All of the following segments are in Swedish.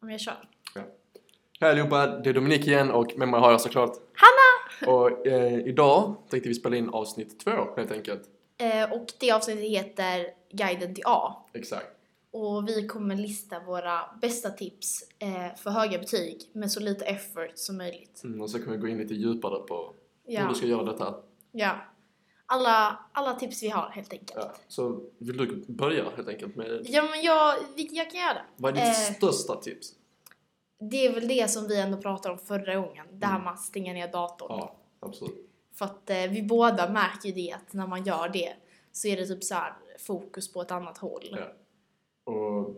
men jag kör. Hej allihopa, det är Dominik igen och med mig har jag såklart Hanna! Och eh, idag tänkte vi spela in avsnitt två helt enkelt. Eh, och det avsnittet heter Guiden till A. Exakt. Och vi kommer lista våra bästa tips eh, för höga betyg med så lite effort som möjligt. Mm, och så kommer vi gå in lite djupare på hur Ja. du ska göra detta. ja. Alla, alla tips vi har helt enkelt. Ja. Ja, Så vill du börja helt enkelt med men jag, vi- jag kan göra det. vad är ditt Eh. största tips? Det är väl det som vi ändå pratade om förra gången. Det här Mm. med att stänga ner datorn. Ja, absolut. För att eh, vi båda märker ju det att när man gör det så är det typ så här fokus på ett annat håll. Ja. Och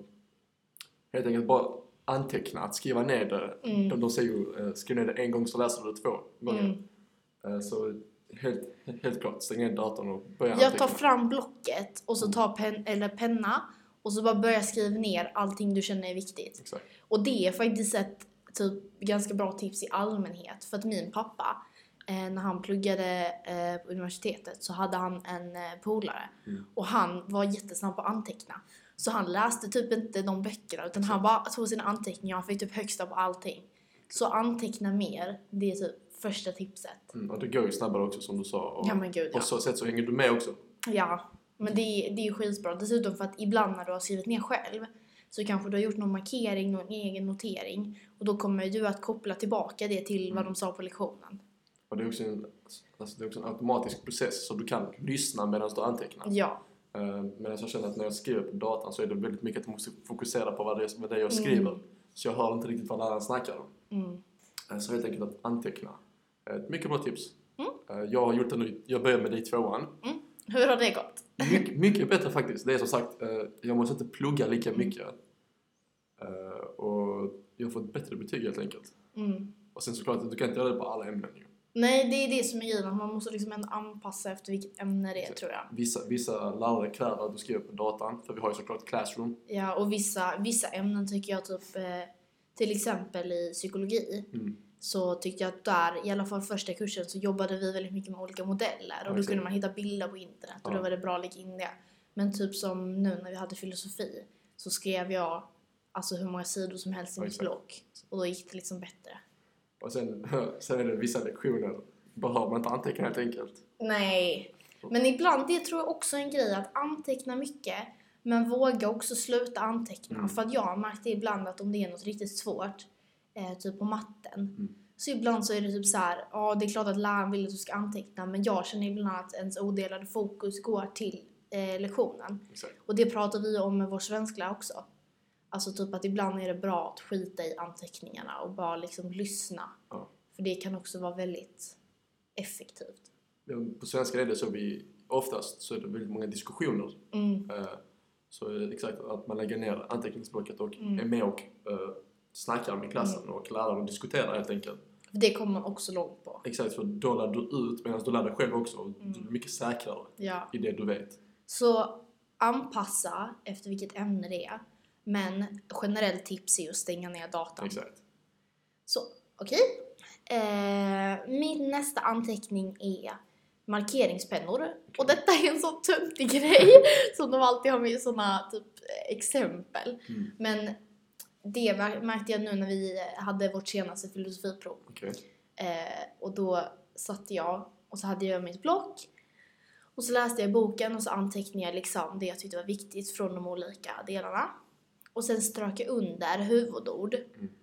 helt enkelt bara anteckna, att skriva ner det. Mm. De, de säger ju eh, skriv ner det en gång så läser du det två gånger. Mm. Eh, så helt, helt klart, stäng ner datorn och börja Jag tar anteckna. fram blocket och så tar pen, eller penna och så bara börjar skriva ner allting du känner är viktigt. Exakt. Och det är faktiskt ett typ ganska bra tips i allmänhet för att min pappa eh, när han pluggade eh, på universitetet så hade han en eh, polare Mm. och han var jättesnabb på att anteckna. Så han läste typ inte de böckerna utan han bara tog sina anteckningar och han fick typ högsta på allting. Så anteckna mer, det är typ första tipset. Mm, och det går ju snabbare också som du sa. Och, Ja men gud ja. och så sätt så hänger du med också. Ja, men det, är- det är ju skitbra. Dessutom för att ibland när du har skrivit ner själv så kanske du har gjort någon markering, någon egen notering och då kommer du att koppla tillbaka det till vad de sa på lektionen. Och det är också en, alltså det är också en automatisk process så du kan lyssna medan du antecknar. Ja, Eh, Medan jag känner att när jag skriver på datan så är det väldigt mycket att jag måste fokusera på vad det, vad det är jag skriver. Så jag hör inte riktigt vad läraren snackar om. mm. Eh, Så helt enkelt att anteckna. Ett mycket bra tips. Mm. Eh, Jag har gjort det nu, jag började med det i tvåan. hur har det gått? Mycket, mycket bättre faktiskt. Det är som sagt, eh, jag måste inte plugga lika Mm. mycket. Eh, Och jag har fått bättre betyg helt enkelt. Mm. Och sen såklart, du kan inte göra det på alla ämnen ju. Nej, det är det som är grejen. att Man måste liksom ändå anpassa efter vilket ämne det är tror jag. Vissa, vissa lärare kräver att du skriver på datan, för vi har ju såklart classroom. Ja, och vissa, vissa ämnen tycker jag typ, eh, till exempel i psykologi, Mm. så tyckte jag att där, i alla fall första kursen, så jobbade vi väldigt mycket med olika modeller och då Exakt. kunde man hitta bilder på internet och Ja. då var det bra att lägga in det. Men typ som nu när vi hade filosofi så skrev jag alltså hur många sidor som helst i Ja, mitt exakt. block och då gick det liksom bättre. Och sen, sen är det vissa lektioner behöver man inte anteckna helt enkelt. Nej, men ibland det tror jag också är en grej att anteckna mycket men våga också sluta anteckna. Mm. För att jag har märkt det ibland att om det är något riktigt svårt, eh, typ på matten, så ibland så är det typ så här, ja det är klart att läraren vill att du ska anteckna men jag känner ibland att ens odelade fokus går till eh, lektionen. Exakt. Och det pratar vi om med vår svenskla också. Alltså typ att ibland är det bra att skita i anteckningarna och bara liksom lyssna. Ja. För det kan också vara väldigt effektivt. Men På svenska är det så vi oftast så är det väldigt många diskussioner. Mm. Eh, Så är det exakt att man lägger ner anteckningsblocket och Mm. är med och eh, snackar med klassen och läraren diskuterar helt enkelt. För det kommer man också långt på. Exakt, för då lär du ut medan du lär dig själv också. och Mm. Du är mycket säkrare Ja. i det du vet. Så anpassa efter vilket ämne det är. Men generellt tips är att stänga ner datan. Exakt. Så, okej. Eh, min nästa anteckning är markeringspennor. Och detta är en sån töntig grej som de alltid har med såna typ eh, exempel. Mm. Men det mär- märkte jag nu när vi hade vårt senaste filosofiprov. Okej. Eh, och då satt jag och så hade jag mitt block. Och så läste jag boken och så antecknade jag liksom det jag tyckte var viktigt från de olika delarna. Och sen strök jag under huvudord.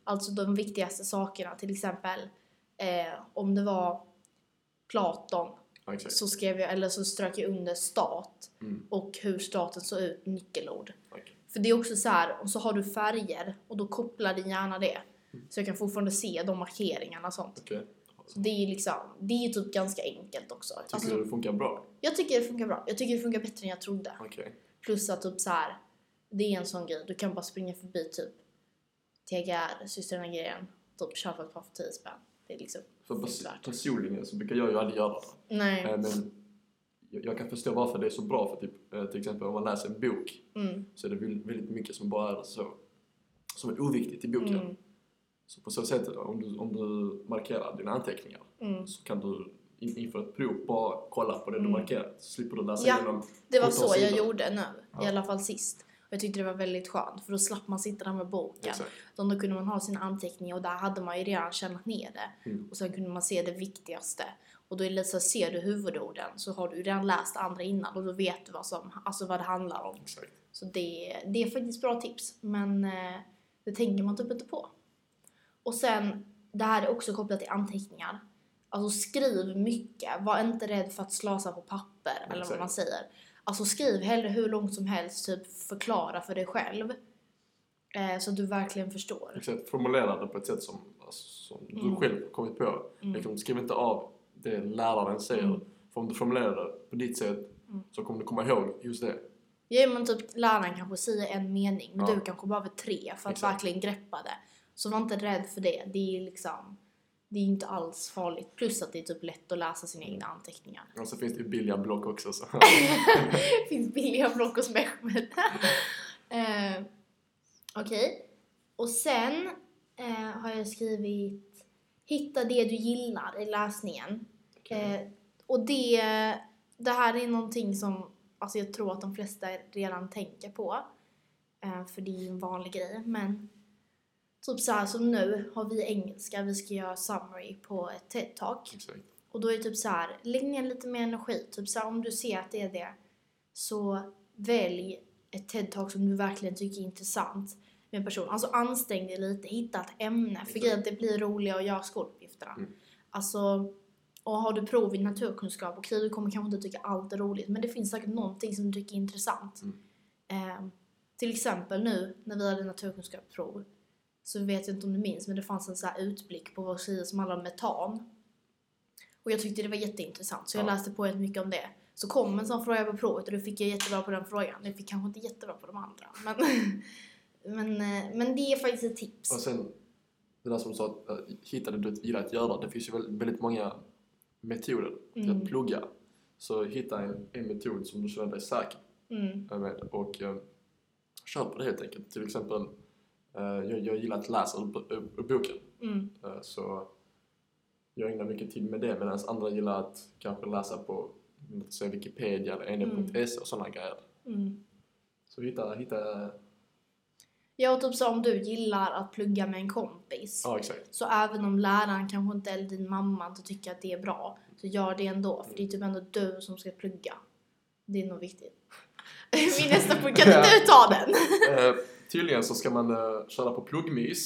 Alltså de viktigaste sakerna. Till exempel eh, om det var Platon Ja, exakt. så skrev jag, eller så strök jag under stat Mm. och hur staten såg ut, nyckelord. Okej. För det är också så här, och så har du färger och då kopplar din hjärna det. Så jag kan fortfarande se de markeringarna och sånt. Okej. Så det är liksom, det är ju typ ganska enkelt också. Tycker Alltså, du det funkar bra? jag tycker det funkar bra. Jag tycker det funkar bättre än jag trodde. Okej. Plus att typ så här, det är en sån grej. Du kan bara springa förbi typ TGR, systrarna Gren, typ köpa ett par för 10 spänn. Det är liksom För pers- Såklart. personligen så brukar jag ju aldrig göra det. Nej. Eh, Men jag, jag kan förstå varför det är så bra för typ, eh, till exempel om man läser en bok Mm. så är det väldigt, väldigt mycket som bara är så som är oviktigt i boken. Mm. Så på så sätt om du, om du markerar dina anteckningar Mm. så kan du in, inför ett prov bara kolla på det du markerat så slipper du läsa Ja, igenom Det var sjutton så jag sidor. gjorde nu. I alla fall sist. Jag tyckte det var väldigt skönt för då slapp man sitta där med boken. Exakt. Utan då kunde man ha sina anteckningar och där hade man ju redan tjänat ner det. Mm. Och sen kunde man se det viktigaste. Och då är det lite så här, ser du huvudorden så har du ju redan läst andra innan och då vet du vad, som, alltså vad det handlar om. Exakt. Så det, det är faktiskt bra tips, men eh, det tänker man typ inte på. Och sen, det här är också kopplat till anteckningar. Alltså skriv mycket, var inte rädd för att slösa på papper eller vad Exakt. man säger. Alltså skriv hellre hur långt som helst, typ förklara för dig själv. Eh, så att du verkligen förstår. Exakt. Formulera det på ett sätt som, alltså, som Mm. du själv har kommit på. Liksom, skriv inte av det läraren säger. Mm. För om du formulerar det på ditt sätt Mm. så kommer du komma ihåg just det. Ja men typ läraren kanske säger en mening, men Ja. du kanske behöver tre för att Exakt. verkligen greppa det. Så var inte rädd för det. Det är liksom, det är inte alls farligt. Plus att det är typ lätt att läsa sina egna anteckningar. Och så finns det ju billiga block också. Så. Det finns billiga block hos Mehmet. eh, Okej. Och sen eh, har jag skrivit Hitta det du gillar i läsningen. Eh, och det, det här är någonting som alltså jag tror att de flesta redan tänker på. Eh, för det är ju en vanlig grej. Men typ så här som nu har vi engelska. Vi ska göra summary på ett TED-talk. Exakt. Och då är det typ så här, lägg ner lite mer energi. Typ så här, om du ser att det är det, så välj ett TED-talk som du verkligen tycker är intressant med en person. Alltså ansträng dig lite, hitta ett ämne. För Exakt. grejen är att det blir roligare att göra skoluppgifterna. Mm. Alltså, och har du prov i naturkunskap, okej du kommer kanske inte tycka allt är roligt, men det finns säkert någonting som du tycker är intressant. Mm. Ehm, till exempel nu när vi hade naturkunskapsprov så vet jag inte om du minns, men det fanns en så här utblick på vår sida som handlade om metan. Och jag tyckte det var jätteintressant så jag Ja. läste på rätt mycket om det. Så kom en sån fråga på provet och då fick jag jättebra på den frågan. Jag fick kanske inte jättebra på de andra. Men, men, eh, men det är faktiskt ett tips. Och sen det där som du sa att eh, hitta det du gillar att göra. Det finns ju väldigt, väldigt många metoder till Mm. att plugga. Så hitta en, en metod som du känner dig säker Mm, med och eh, kör på det helt enkelt. Till exempel, eh, jag, jag gillar att läsa ur, bo- ur, ur boken. mm, Eh, så jag ägnar mycket tid med det medan andra gillar att kanske läsa på låt säga Wikipedia eller E ene.se och sådana grejer. mm. Så hitta, hitta, Ja, och typ så om du gillar att plugga med en kompis. ja exakt. Så även om läraren kanske inte eller din mamma inte tycker att det är bra, så gör det ändå. För det är typ ändå du som ska plugga. Det är nog viktigt. Min nästa punkt, kan inte du ta den? Eh, tydligen så ska man eh, köra på pluggmys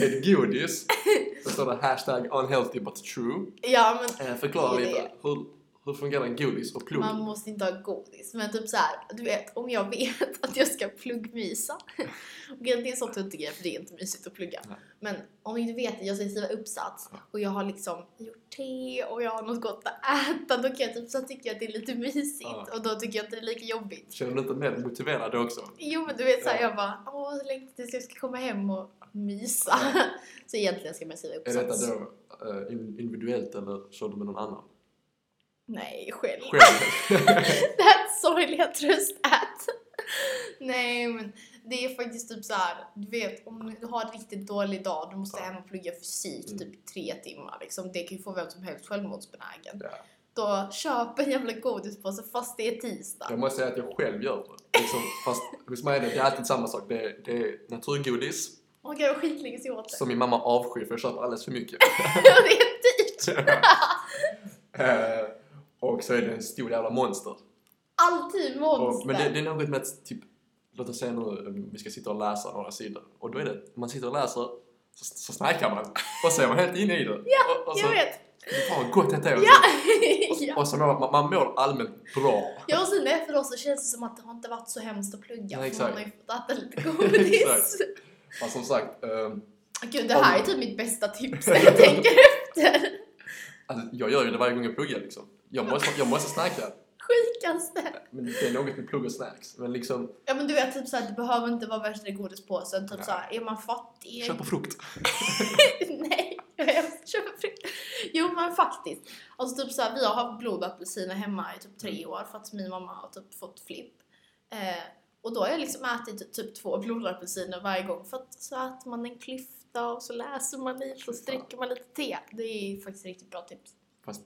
med godis. Då står det hashtag unhealthy but true. Ja, men Eh, förklara Det är lite, hur, hur fungerar godis och plugg? Man måste inte ha godis. Men typ så här, du vet, om jag vet att jag ska pluggmysa. Och det är sånt jag inte grejer för det är inte mysigt att plugga. Nej. Men om jag inte vet att jag ska skriva uppsats Ja. och jag har liksom gjort te och jag har något gott att äta. Då kan jag typ så här tycka att det är lite mysigt Ja. och då tycker jag inte det är lika jobbigt. Känner du inte mer motiverad då också? Jo men du vet såhär, Ja. jag bara åh så längtar tills jag ska komma hem och mysa. Så egentligen ska man skriva Är uppsats. detta då eh, in- individuellt eller kör du med någon annan? Nej, själv. Själv? That sorgliga tröst att. Nej men det är faktiskt typ så här, du vet om du har en riktigt dålig dag, du måste Ja. hem och plugga fysik Mm. typ tre timmar liksom. Det kan ju få vem som helst självmordsbenägen. Ja. Då köp en jävla godispåse fast det är tisdag. Jag måste säga att jag själv gör det. Liksom, fast hos mig är det, det är alltid samma sak. Det är, det är naturgodis Man kan ju skitlänge se åt det. som min mamma avskyr för jag köper alldeles för mycket. det är typ dyrt! Eh, och så är det en stor jävla monster. Alltid monster! Och, men det, det är något med att typ, låt oss säga nu eh, vi ska sitta och läsa några sidor. Och då är det, man sitter och läser så, så snackar man och så är man helt inne i det. Ja, och, och så, Jag vet! Fan vad gott detta är! Ja! ja. Och, och så mår man, man mår allmänt bra. Jag och sen efteråt så känns det som att det har inte varit så hemskt att plugga. Nej, för man exakt. har ju fått äta lite Exakt. godis. Fast som sagt, ehm, Gud, det här är typ mitt bästa tips när jag tänker efter. alltså, jag gör ju det varje gång jag pluggar liksom. Jag måste, jag måste snacka. Sjukaste! Men det är något med plugg och snacks. Men liksom, Ja men du vet, typ såhär, det behöver inte vara värsta godispåsen. Typ Nej. såhär, är man fattig? köpa frukt. Nej, jag hemskt. Köpa frukt. Jo men faktiskt. Alltså typ såhär, vi har haft blodapelsiner hemma i typ Mm. tre år för att min mamma har typ fått flipp. Eh, och då har jag liksom ätit typ två blodapelsiner varje gång för att så äter man en klyfta och så läser man lite och så dricker man lite te. Det är faktiskt riktigt bra tips. Fast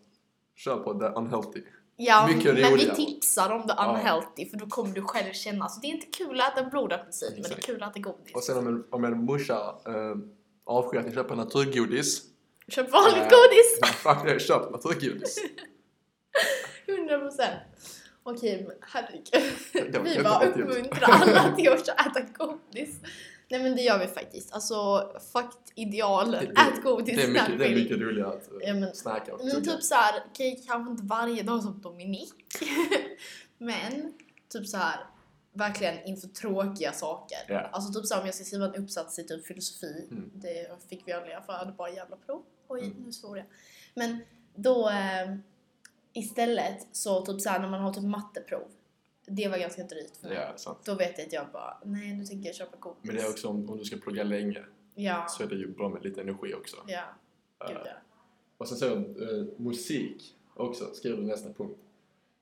kör på the unhealthy. Ja, Mycket men vi roligare. tipsar om the Ja. unhealthy för då kommer du själv känna. Så det är inte kul att äta blodapelsin men det är Exakt. kul att äta godis. Och sen om en, om en morsa eh, avskyr att jag köper naturgodis. Köp vanligt Eh. godis! Ja, Fuck det, köp naturgodis. 100% Okej, men herregud. Det var Vi ett bara jättebra tips. uppmuntrar alla till att äta godis. Nej men det gör vi faktiskt. Alltså, fuck idealen. Det- det- Ät godis Det är mycket, det är vill. mycket roligare att eh, Ja, men- snacka och Men tugga. typ såhär, okej kanske inte varje dag som Dominik. men typ såhär, verkligen inför tråkiga saker. Ja. Alltså typ såhär om jag ska skriva en uppsats i typ filosofi. Mm. Det fick vi aldrig för jag hade bara jävla prov. Oj, Mm. nu svor jag. Men då eh, istället så typ såhär när man har typ matteprov. Det var ganska drygt för mig. Ja, sant. Då vet jag att jag bara, nej nu tänker jag köpa godis. Men det är också om, om du ska plugga länge Ja, så är det ju bra med lite energi också. ja, Eh, gud ja. Och sen så eh, musik också, skriver du nästa punkt.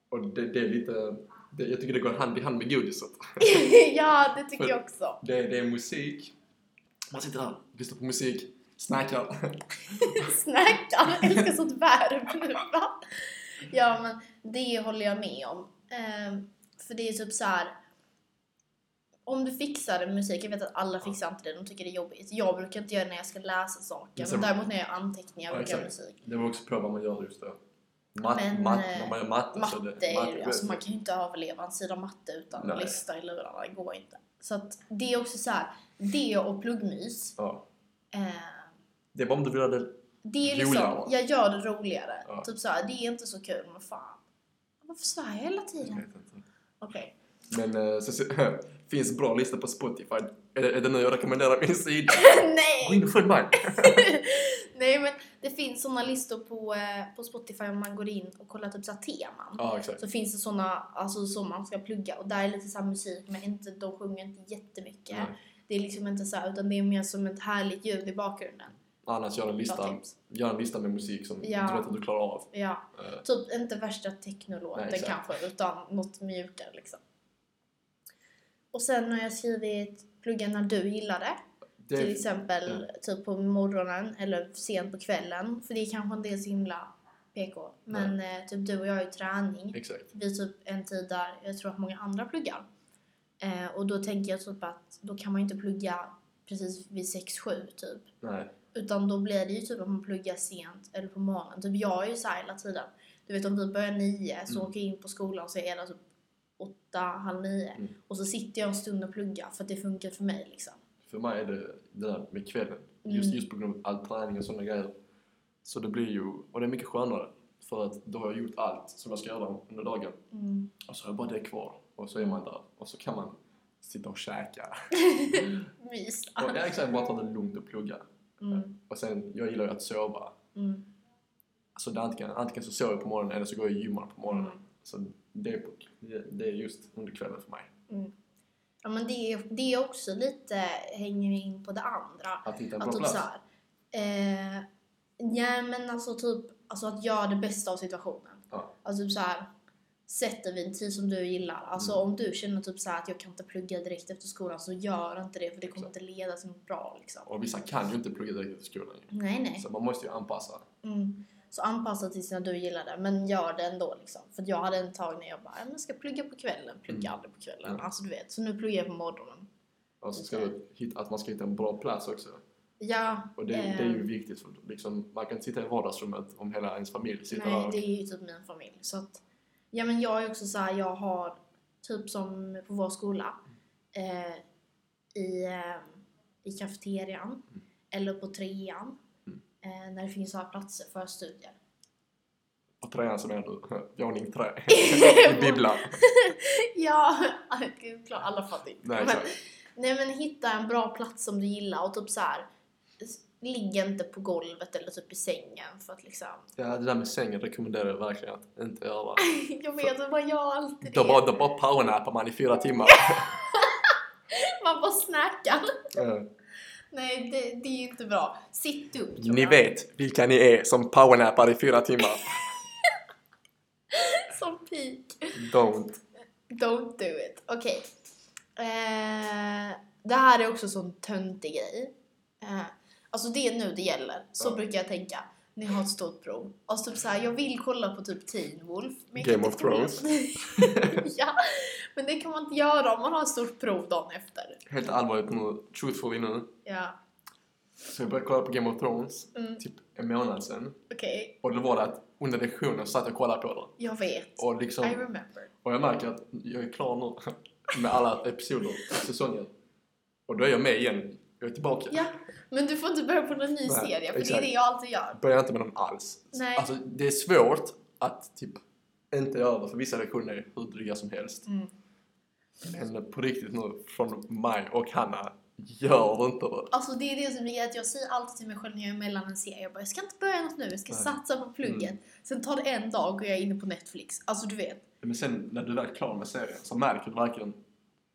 Och det, det är lite, det, jag tycker det går hand i hand med godiset. ja, det tycker jag också. Det, det är musik, man sitter där, lyssnar på musik, snackar. Snackar, älskar sånt verb nu va? Ja men det håller jag med om. Ehm, för det är typ så här. Om du fixar musik, jag vet att alla fixar inte det, de tycker det är jobbigt. Jag brukar inte göra det när jag ska läsa saker, men Som- däremot när jag gör anteckningar Ja, brukar jag göra exakt. musik. Det var också bra vad man gör just då. Matt, Men, matt, eh, när man gör matte, så Matte, är är ju- matte- alltså man kan ju inte överleva en sida matte utan Nej. lista i lurarna, det går inte. Så att det är också så här. det och pluggmys. Ja. Ehm, Det är bara om du vill göra det Det är liksom, Roligare. jag gör det roligare. Ja. Typ såhär, det är inte så kul, men fan. Varför svär jag hela Jag tiden? vet inte. Okej. Men eh, så, så, finns bra lista på Spotify. Är det, är det nu jag rekommenderar min sida? Gå Nej! in och följ mig! Nej men det finns såna listor på, eh, på Spotify om man går in och kollar typ såhär teman. Ja, exakt. Så finns det såna, alltså som man ska plugga och där är lite såhär musik men inte, de sjunger inte jättemycket. Nej. Det är liksom inte såhär, utan det är mer som ett härligt ljud i bakgrunden. Annars gör en Bra lista, tips. gör en lista med musik som Ja. du vet att du klarar av. Ja, Eh, typ inte värsta technolåten Nej, exakt. kanske, utan något mjukare liksom. Och sen har jag skrivit plugga när du gillar det. det till är, exempel typ på morgonen eller sent på kvällen. För det är kanske inte är så himla PK. Men eh, typ du och jag har ju träning exakt. vid typ en tid där jag tror att många andra pluggar. Eh, och då tänker jag typ att då kan man ju inte plugga precis vid 6-7 typ. Nej. Utan då blir det ju typ att man pluggar sent eller på morgonen. Typ jag är ju såhär hela tiden. Du vet om vi börjar nio så Mm. åker jag in på skolan så är det typ åtta, halv nio. Mm. Och så sitter jag en stund och pluggar för att det funkar för mig liksom. För mig är det det där med kvällen. Just, Mm. just på grund av all träning och sådana grejer. Så det blir ju, och det är mycket skönare. För att då har jag gjort allt som jag ska göra under dagen. Mm. Och så har jag bara det kvar. Och så är man där. Och så kan man sitta och käka. Mys. Och jag exakt bara ta det lugnt och plugga. Mm. Och sen, jag gillar ju att sova. Mm. Alltså det är antingen, antingen så sover jag på morgonen eller så går jag och gymmar på morgonen. Mm. Så det är, på, det, det är just under kvällen för mig. Mm. Ja men det är, det är också lite, hänger ju in på det andra. Att hitta en bra Att typ plats. såhär. Eh, ja men alltså typ, alltså att göra det bästa av situationen. Ja. Alltså typ såhär, sätt dig vid en tid som du gillar. Alltså Mm. om du känner typ såhär att jag kan inte plugga direkt efter skolan så gör inte det för det kommer inte leda till något bra liksom. Och vissa kan ju inte plugga direkt efter skolan ju. Nej nej. Så man måste ju anpassa. Mm. Så anpassa tills när du gillar det, men gör det ändå liksom. För jag hade en tag när jag bara, "Ja, men jag ska plugga på kvällen, plugga Mm. aldrig på kvällen. Ja. Alltså du vet, så nu pluggar jag på morgonen. Och så ska du hitta, att man ska hitta en bra plats också. Ja, Och det, eh, det är ju viktigt. För liksom, man kan inte sitta i vardagsrummet om hela ens familj sitter där. Nej, och- det är ju typ min familj. Så att, ja men jag är också så här, jag har typ som på vår skola eh, i, eh, i kafeterian eller på trean Mm. eh, när det finns så här platser för studier. Och tröjan som är du. Våning trä. Vår- Bibbla. ja, gud, klart, alla fattar inte. Nej, Men- exakt. Nej men hitta en bra plats som du gillar och typ så här. s- Ligg inte på golvet eller typ i sängen för att liksom... Ja, det där med sängen rekommenderar jag verkligen att inte göra. Jag vet, man bara gör alltid Då det. bara, då bara powernappar man i fyra timmar. Man bara snackar. Eh, Nej, det, det är ju inte bra. Sitt upp tror Ni jag. vet vilka ni är som powernappar i fyra timmar. Som pik. Don't. Don't do it. Okej. Eh, det här är också en sån töntig grej. Eh, alltså det är nu det gäller. Så Ja. brukar jag tänka. ni har ett stort prov. Och så typ så här, jag vill kolla på typ Teen Wolf. jag kan Game inte of kolla Thrones. på- ja, men det kan man inte göra om man har ett stort prov dagen efter. Helt allvarligt nu, truthfully nu. Ja, Så jag började kolla på Game of Thrones mm, typ en månad sedan. okej. Och då var det att under lektionen satt jag och kollade på det. Jag vet. Och I liksom, remember. och jag märker att jag är klar nu med alla episoder och säsonger. Och då är jag med igen. Jag är tillbaka. Ja, men du får inte börja på någon ny Nej, serie för det är exakt. det jag alltid gör. Börjar inte med dem alls. Nej. Alltså det är svårt att typ inte göra det för vissa lektioner är hur dryga som helst. Mm. Men på riktigt nu, från mig och Hanna, gör det inte det. Alltså det är det som är grejen, att jag säger alltid till mig själv när jag är mellan en serie, jag bara jag ska inte börja något nu, jag ska Nej. Mm. satsa på plugget. Sen tar det en dag och jag är inne på Netflix. Alltså du vet. Men sen när du väl är klar med serien så märker du verkligen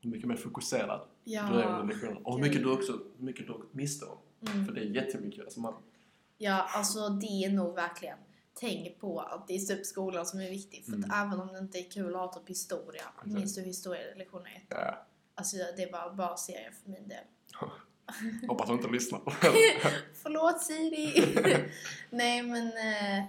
hur mycket mer fokuserad Ja. du är under lektionen. Och hur mycket gud. du också, hur mycket du har gått miste om. Mm. För det är jättemycket. Alltså man, Ja, alltså det är nog verkligen tänk på att det är typ skolan som är viktig. För att även om det inte är kul att ha typ historia, Mm. Exakt. minns du historielektion 1? ja, Alltså det var bara serier för min del. hoppas du inte lyssnar. Förlåt Siri! Nej men... Eh,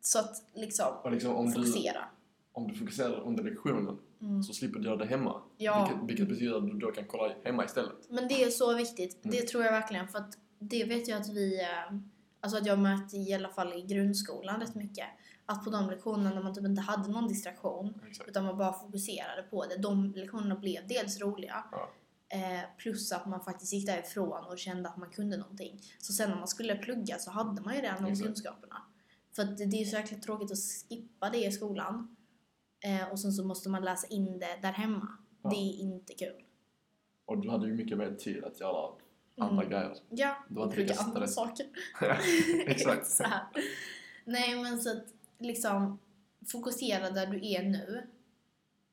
så att liksom, och liksom om du, fokusera. om du fokuserar under lektionen Mm. så slipper du göra det hemma. Ja. Vilket, vilket betyder att du då kan kolla hemma istället. Men det är så viktigt, Mm. det tror jag verkligen. För att det vet jag att vi, eh, alltså att jag mött i alla fall i grundskolan rätt mycket. Att på de lektionerna när man typ inte hade någon distraktion Exakt. utan man bara fokuserade på det. De lektionerna blev dels roliga Ja. eh, plus att man faktiskt gick därifrån och kände att man kunde någonting. Så sen när man skulle plugga så hade man ju redan de Exakt. kunskaperna. För att det det är ju så jäkla tråkigt att skippa det i skolan eh, och sen så måste man läsa in det där hemma. Ja. Det är inte kul. Och du hade ju mycket mer tid att göra andra Mm. grejer. Ja, Det var och inte plugga lika andra stress. saker. Exakt. så här. Nej men så att liksom fokusera där du är nu.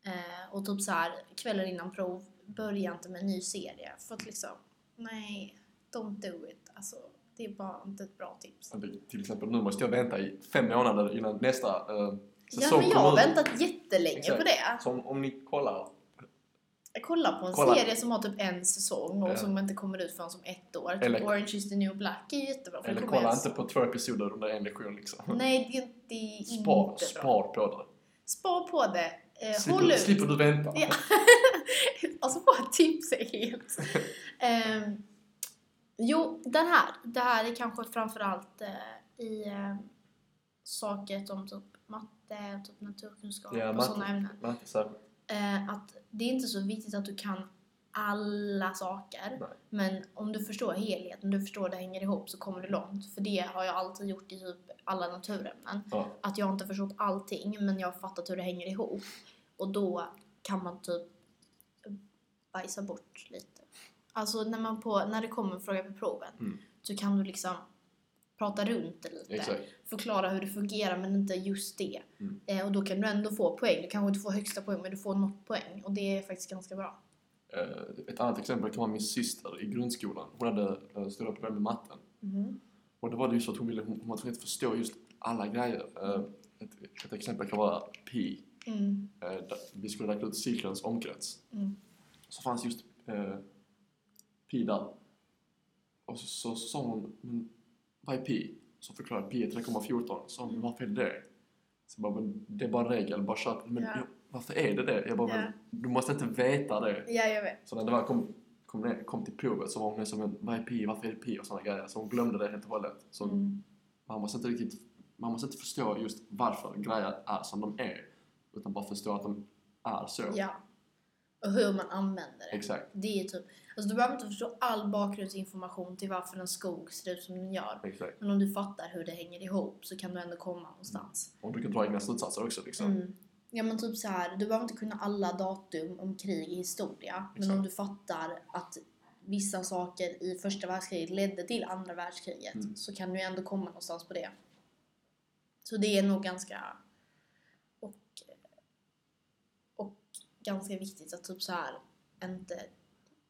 Eh, och typ så här kvällen innan prov, börja inte med en ny serie. För att liksom, nej, don't do it. Alltså, det är bara inte ett bra tips. Att Till exempel nu måste jag vänta i fem månader innan nästa eh, Ja säsong men jag har kommer ut. väntat jättelänge på Exakt. det. Så om, om ni kollar, Jag kollar på en Kolla. serie som har typ en säsong och Ja. som inte kommer ut förrän som ett år. Typ Eller- Orange is the new black är jättebra. För det eller kommer kolla en- inte på två episoder under en lektion liksom. Nej, det är, det är inte Spar, bra. spar på det. Spar på det. Eh, håll Slipper, ut. slipper du vänta. Ja. alltså våra tips är helt... Ehm, jo, den här. Det här är kanske framförallt eh, i eh, saker om typ matte, typ naturkunskap Ja, och matte. sådana ämnen. Nej, inte så här. Eh, att det är inte så viktigt att du kan alla saker. Nej. Men om du förstår helheten, du förstår det hänger ihop så kommer du långt. För det har jag alltid gjort i typ alla naturämnen Ja. att jag inte förstått allting men jag har fattat hur det hänger ihop. Och då kan man typ bajsa bort lite. Alltså när, man på, när det kommer en fråga på proven Mm. så kan du liksom prata runt det lite. Exakt. Förklara hur det fungerar men inte just det. Mm. Eh, och då kan du ändå få poäng. Du kanske inte får högsta poäng men du får något poäng och det är faktiskt ganska bra. Eh, ett annat exempel kan vara min syster i grundskolan. Hon hade eh, stora problem med matten. Mhm. Och då var det ju så att hon ville, hon, hon var tvungen att förstå just alla grejer. Eh, ett, ett exempel kan vara pi. Mm. Eh, där- vi skulle räkna ut cirkelns omkrets. Mm. Så fanns just eh, pi där. Och så, så sa hon, men vad är pi? Så förklarade jag, pi är 3,14. Så sa hon, men varför är det det? Så jag bara, men det är bara en regel, bara kör. Men Ja. jag, varför är det det? Jag bara, Ja. men du måste inte veta det. Ja, jag vet. Så när det väl kom, kom, ner, kom till provet så var hon mer som en, vad är pi, varför är det pi och sådana grejer. Så hon glömde det helt och hållet. Så Mm. man måste inte riktigt, man måste inte förstå just varför grejer är som de är. Utan bara förstå att de är så. Ja. Och hur man använder det. Exakt, Det är typ, alltså du behöver inte förstå all bakgrundsinformation till varför en skog ser ut som den gör. exakt. Men om du fattar hur det hänger ihop så kan du ändå komma någonstans. Och du kan dra egna slutsatser också liksom. Mm. Ja men typ så här, du behöver inte kunna alla datum om krig i historia. Men Exakt. om du fattar att vissa saker i första världskriget ledde till andra världskriget Mm. så kan du ändå komma någonstans på det. Så det är nog ganska och, och ganska viktigt att typ så här inte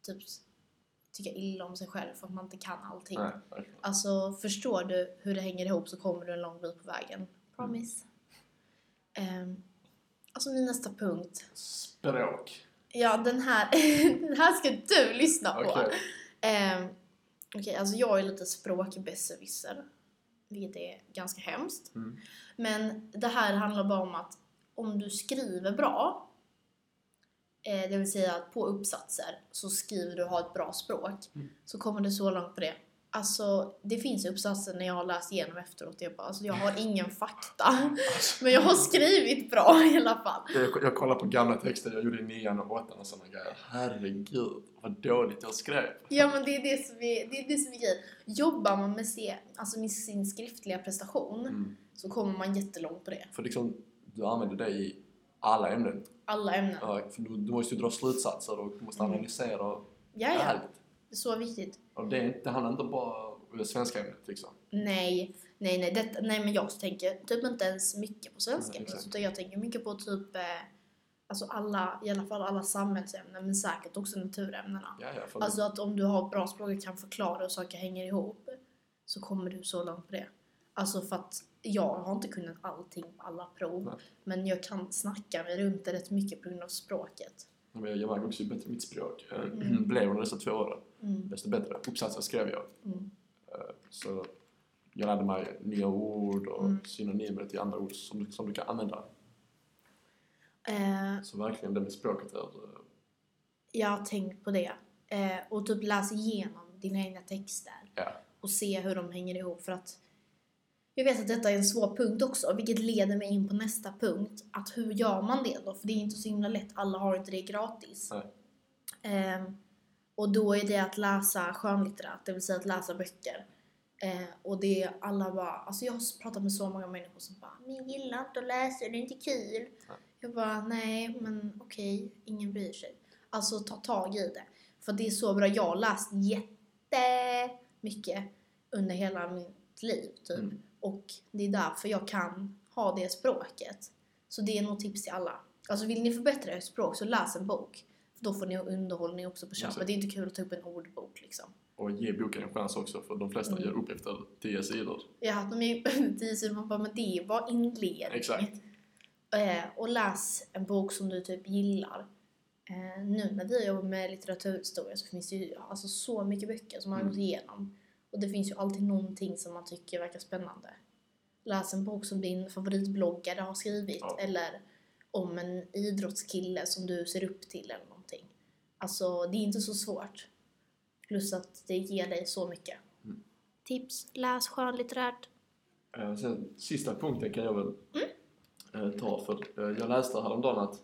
typ tycka illa om sig själv för att man inte kan allting. Nej, verkligen. Alltså förstår du hur det hänger ihop så kommer du en lång bit på vägen. Promise. Ehm, alltså min nästa punkt. Språk. Ja den här, den här ska du lyssna på. Okej. Ehm, Okej, alltså jag är lite språkbesserwisser. vilket är ganska hemskt. Mm. Men det här handlar bara om att om du skriver bra, eh, det vill säga att på uppsatser, så skriver du och har ett bra språk, Mm. så kommer du så långt på det. Alltså, det finns uppsatser när jag har läst igenom efteråt, jag bara, alltså jag har ingen fakta. Alltså, Men jag har skrivit bra i alla fall. jag, jag kollar på gamla texter jag gjorde i nian och åttan och sådana grejer. Herregud, vad dåligt jag skrev. Ja men det är det som är, det är, det som är grejen. Jobbar man med, se, alltså med sin skriftliga prestation Mm. så kommer man jättelångt på det. För liksom, du använder det i alla ämnen. Alla ämnen. Ja, Ja, För du, du måste ju dra slutsatser och du måste Mm. analysera och ja. allt. Det är så viktigt. Och det, är inte- det handlar inte bara om svenska ämnet liksom. Nej, nej, nej. Detta, nej men jag tänker typ inte ens mycket på svenska. Nej, exakt. utan jag tänker mycket på typ eh, alltså alla, i alla fall alla samhällsämnen men säkert också naturämnena. Ja, ja, för Alltså att om du har ett bra språk och kan förklara och saker hänger ihop så kommer du så långt på det. Alltså för att jag har inte kunnat allting på alla prov Nej. men jag kan snacka mig runt det rätt mycket på grund av språket. Ja, men jag märker också hur bättre mitt språk eh, Mm. blev under dessa två åren. Mm. Desto bättre uppsatser skrev jag. Mm. Eh, Så jag lärde mig nya ord och Mm. synonymer till andra ord som, du- som du kan använda. Eh, Så verkligen det med språket är... eh, jag har tänkt på det. Eh, och typ läs igenom dina egna texter Ja. och se hur de hänger ihop för att jag vet att detta är en svår punkt också, vilket leder mig in på nästa punkt. Att hur gör man det då? För det är inte så himla lätt, alla har inte det gratis. Nej. Ehm, och då är det att läsa skönlitterärt, det vill säga att läsa böcker. Eh, och det är alla bara, alltså jag har pratat med så många människor som bara Men jag gillar inte att läsa, det är inte kul. Nej. Jag bara, nej men okej, ingen bryr sig. Alltså ta tag i det. För det är så bra, jag har läst jättemycket under hela mitt liv typ. Mm. Och det är därför jag kan ha det språket. Så det är nog tips till alla. Alltså vill ni förbättra ert språk så läs en bok. För då får ni underhållning också på köpet. Exakt. Det är inte kul att ta upp en ordbok liksom. Och ge boken en chans också för de flesta Mm. gör upp efter 10 sidor. Jag har haft dem i tio man bara, men det var inledningen. Exakt. Eh, och läs en bok som du typ gillar. Eh, nu när vi jobbar med litteraturhistoria så finns det ju alltså, så mycket böcker som man har Mm. gått igenom. Och det finns ju alltid någonting som man tycker verkar spännande. Läs en bok som din favoritbloggare har skrivit Ja. eller om en idrottskille som du ser upp till eller någonting. Alltså det är inte så svårt. Plus att det ger dig så mycket. Mm. Tips, läs skönlitterärt. Eh, Sen, sista punkten kan jag väl Mm. eh, ta för eh, jag läste häromdagen att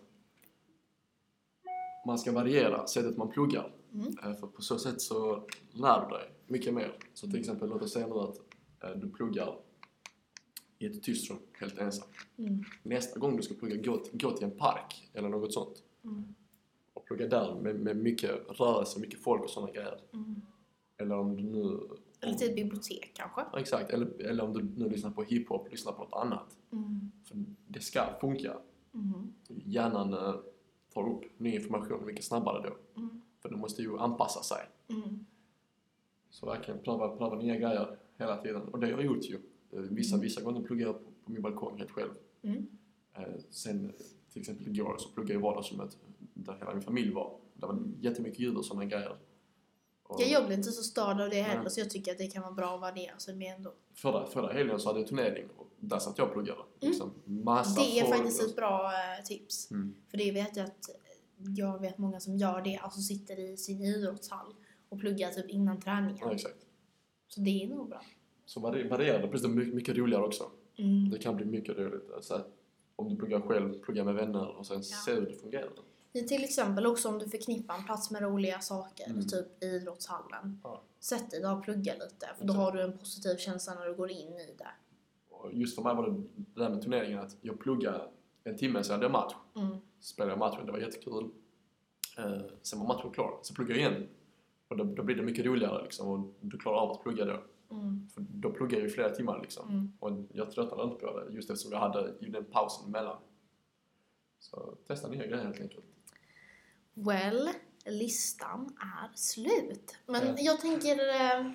man ska variera sättet man pluggar. Mm. Eh, För på så sätt så lär du dig mycket mer. Så till exempel låt oss säga nu att eh, du pluggar i ett tyst rum helt ensam. Mm. Nästa gång du ska plugga, gå till, gå till en park eller något sånt Mm. och plugga där med, med mycket rörelse, mycket folk och sådana grejer. Mm. Eller om du nu... Eller typ- till ett bibliotek kanske. Ja, Exakt, eller, eller om du nu lyssnar på hiphop, lyssnar på något annat. Mm. För det ska funka. Mm. Hjärnan eh, tar upp ny information mycket snabbare då. Mm. För den måste ju anpassa sig. Mm. Så verkligen pröva, pröva nya grejer hela tiden. Och det har jag gjort ju. Eh, Vissa, vissa gånger pluggar jag på, på min balkong helt själv. Mm. Eh, sen eh, till exempel igår så pluggade jag i vardagsrummet där hela min familj var. Det var jättemycket ljud och sådana grejer. Och Ja, jag blir inte så störd av det heller Nej. så jag tycker att det kan vara bra att variera sig med ändå. förra, förra helgen så hade jag turnering och där satt jag och pluggade. Liksom, massa Mm. Det är folk faktiskt och- ett bra eh, tips. Mm. För det vet jag att jag vet många som gör det, alltså sitter i sin idrottshall och pluggar typ innan Ja, träningen. exakt. Så det är nog bra. Så vari- varierade, precis, mycket, mycket roligare också. Mm. Det kan bli mycket roligt. Så att om du pluggar själv, plugga med vänner och sen se hur det fungerar. Ja, Till exempel också om du förknippar en plats med roliga saker, Mm. typ i idrottshallen. Ja. Sätt dig där och plugga lite, för då Exakt. har du en positiv känsla när du går in i det. Och just för mig var det det där med turneringen att jag pluggade en timme, sen hade jag match. Mm. Spelade jag matchen, det var jättekul. Eh, sen var matchen klar, så pluggade jag igen. Och då, då blir det mycket roligare liksom och du klarar av att plugga då. Mm. För då pluggade jag ju flera timmar liksom. Mm. Och jag tröttnade inte på det just eftersom jag hade ju den pausen emellan. Så testa nya grejer helt enkelt. Well, listan är slut. Men Ja. jag tänker eh,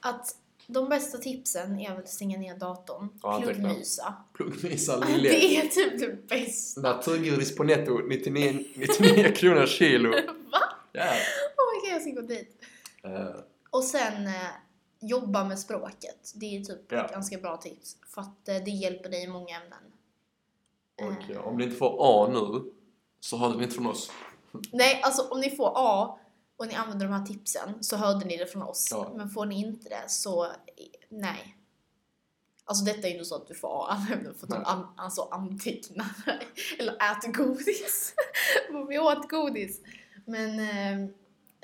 att de bästa tipsen är väl att stänga ner datorn, Ja, anteckna. pluggmysa. Pluggvisa Lille. Det är typ det bästa. Naturgodis på netto, 99, 99 kronor kilo. Va? Ja. Oh my God, jag ska gå dit. Eh, Och sen eh, jobba med språket. Det är typ Ja. ett ganska bra tips. För att eh, det hjälper dig i många ämnen. Eh, Och ja, om ni inte får A nu så hörde ni inte från oss. Nej, alltså om ni får A och ni använder de här tipsen så hörde ni det från oss. Ja. Men får ni inte det så eh, nej. Alltså detta är ju inte så att du får A alla ämnen för att Nej. de an, alltså antecknar eller äter godis. För vi åt godis. Men, eh,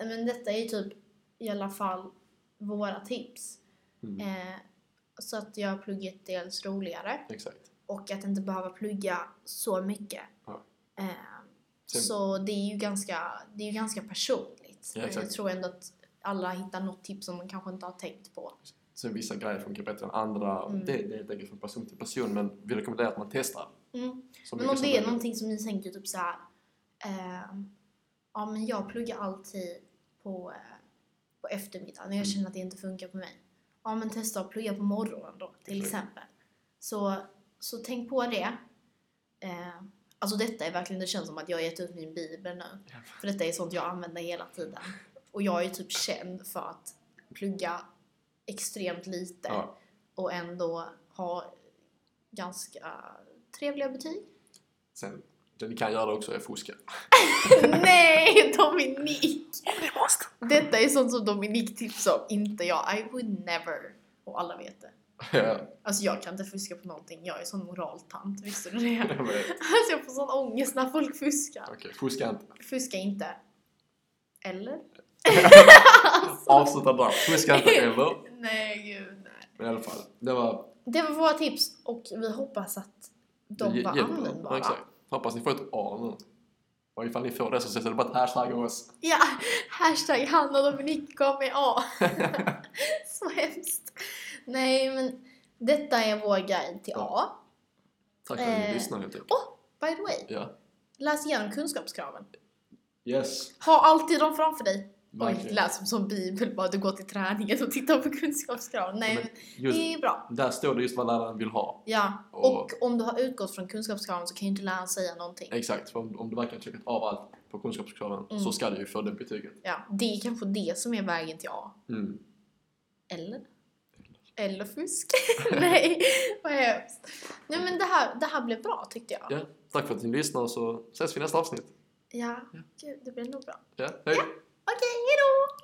men detta är ju typ i alla fall våra tips. Mm. Eh, så att jag plugget dels roligare Exakt. och att inte behöva plugga så mycket. Ja. Eh, Sen- så det är ju ganska, det är ju ganska personligt. Ja, Men exakt. jag tror ändå att alla hittar något tips som de kanske inte har tänkt på. Sen vissa grejer funkar bättre än andra. Mm. Det, det är helt enkelt från person till person men vi rekommenderar att man testar. Mm. Så Men mycket om som det är möjligt. någonting som ni tänker typ så här. Eh, ja men jag pluggar alltid på, eh, på eftermiddagen och jag Mm. känner att det inte funkar på mig. Ja men testa att plugga på morgonen då till Exakt. exempel. Så, så tänk på det. Eh, alltså detta är verkligen, det känns som att jag har gett ut min bibel nu. Ja. För detta är sånt jag använder hela tiden. Och jag är ju typ känd för att plugga extremt lite Ja. och ändå ha ganska trevliga betyg. Sen, det ni kan göra också är fuska. Nej, Dominik! Det måste! Detta är sånt som Dominik tipsade om, inte jag. I would never. Och alla vet det. ja, Alltså jag kan inte fuska på någonting. Jag är sån moraltant, visste du det? jag vet. Alltså jag får sån ångest när folk fuskar. Okej, fuska inte. Fuska inte. Eller? Avsluta bara. Fuska inte eller. Nej, gud nej. Men i alla fall, det var... Det var våra tips och vi hoppas att de det var hjälper. Ja, användbara. exakt. Hoppas ni får ett A nu. Och ifall ni får det så sätter det bara ett hashtag av oss. Ja, hashtag Hanna och Dominik gav mig A. Så hemskt. Nej, men detta är vår guide till A. Tack för att Eh, ni lyssnade helt enkelt. Oh, by the way, Ja. läs igenom kunskapskraven. Yes. Ha alltid dem framför dig. Oj, Verkligen. läs som som bibel bara du går till träningen och tittar på kunskapskraven. Nej, Men men Just, det är bra. där står det just vad läraren vill ha. Ja, Och- och om du har utgått från kunskapskraven så kan ju inte läraren säga någonting. Exakt, för om, om du verkligen checkat av allt på kunskapskraven Mm. så ska du ju få det betyget. Ja, det är kanske det som är vägen till A. Mm. Eller? Eller fusk. Nej, vad hemskt. Nej men det här, det här blev bra tyckte jag. Ja. Tack för att ni lyssnade så ses vi i nästa avsnitt. Ja, Gud, det blev nog bra. Ja, hej! Okej, hejdå!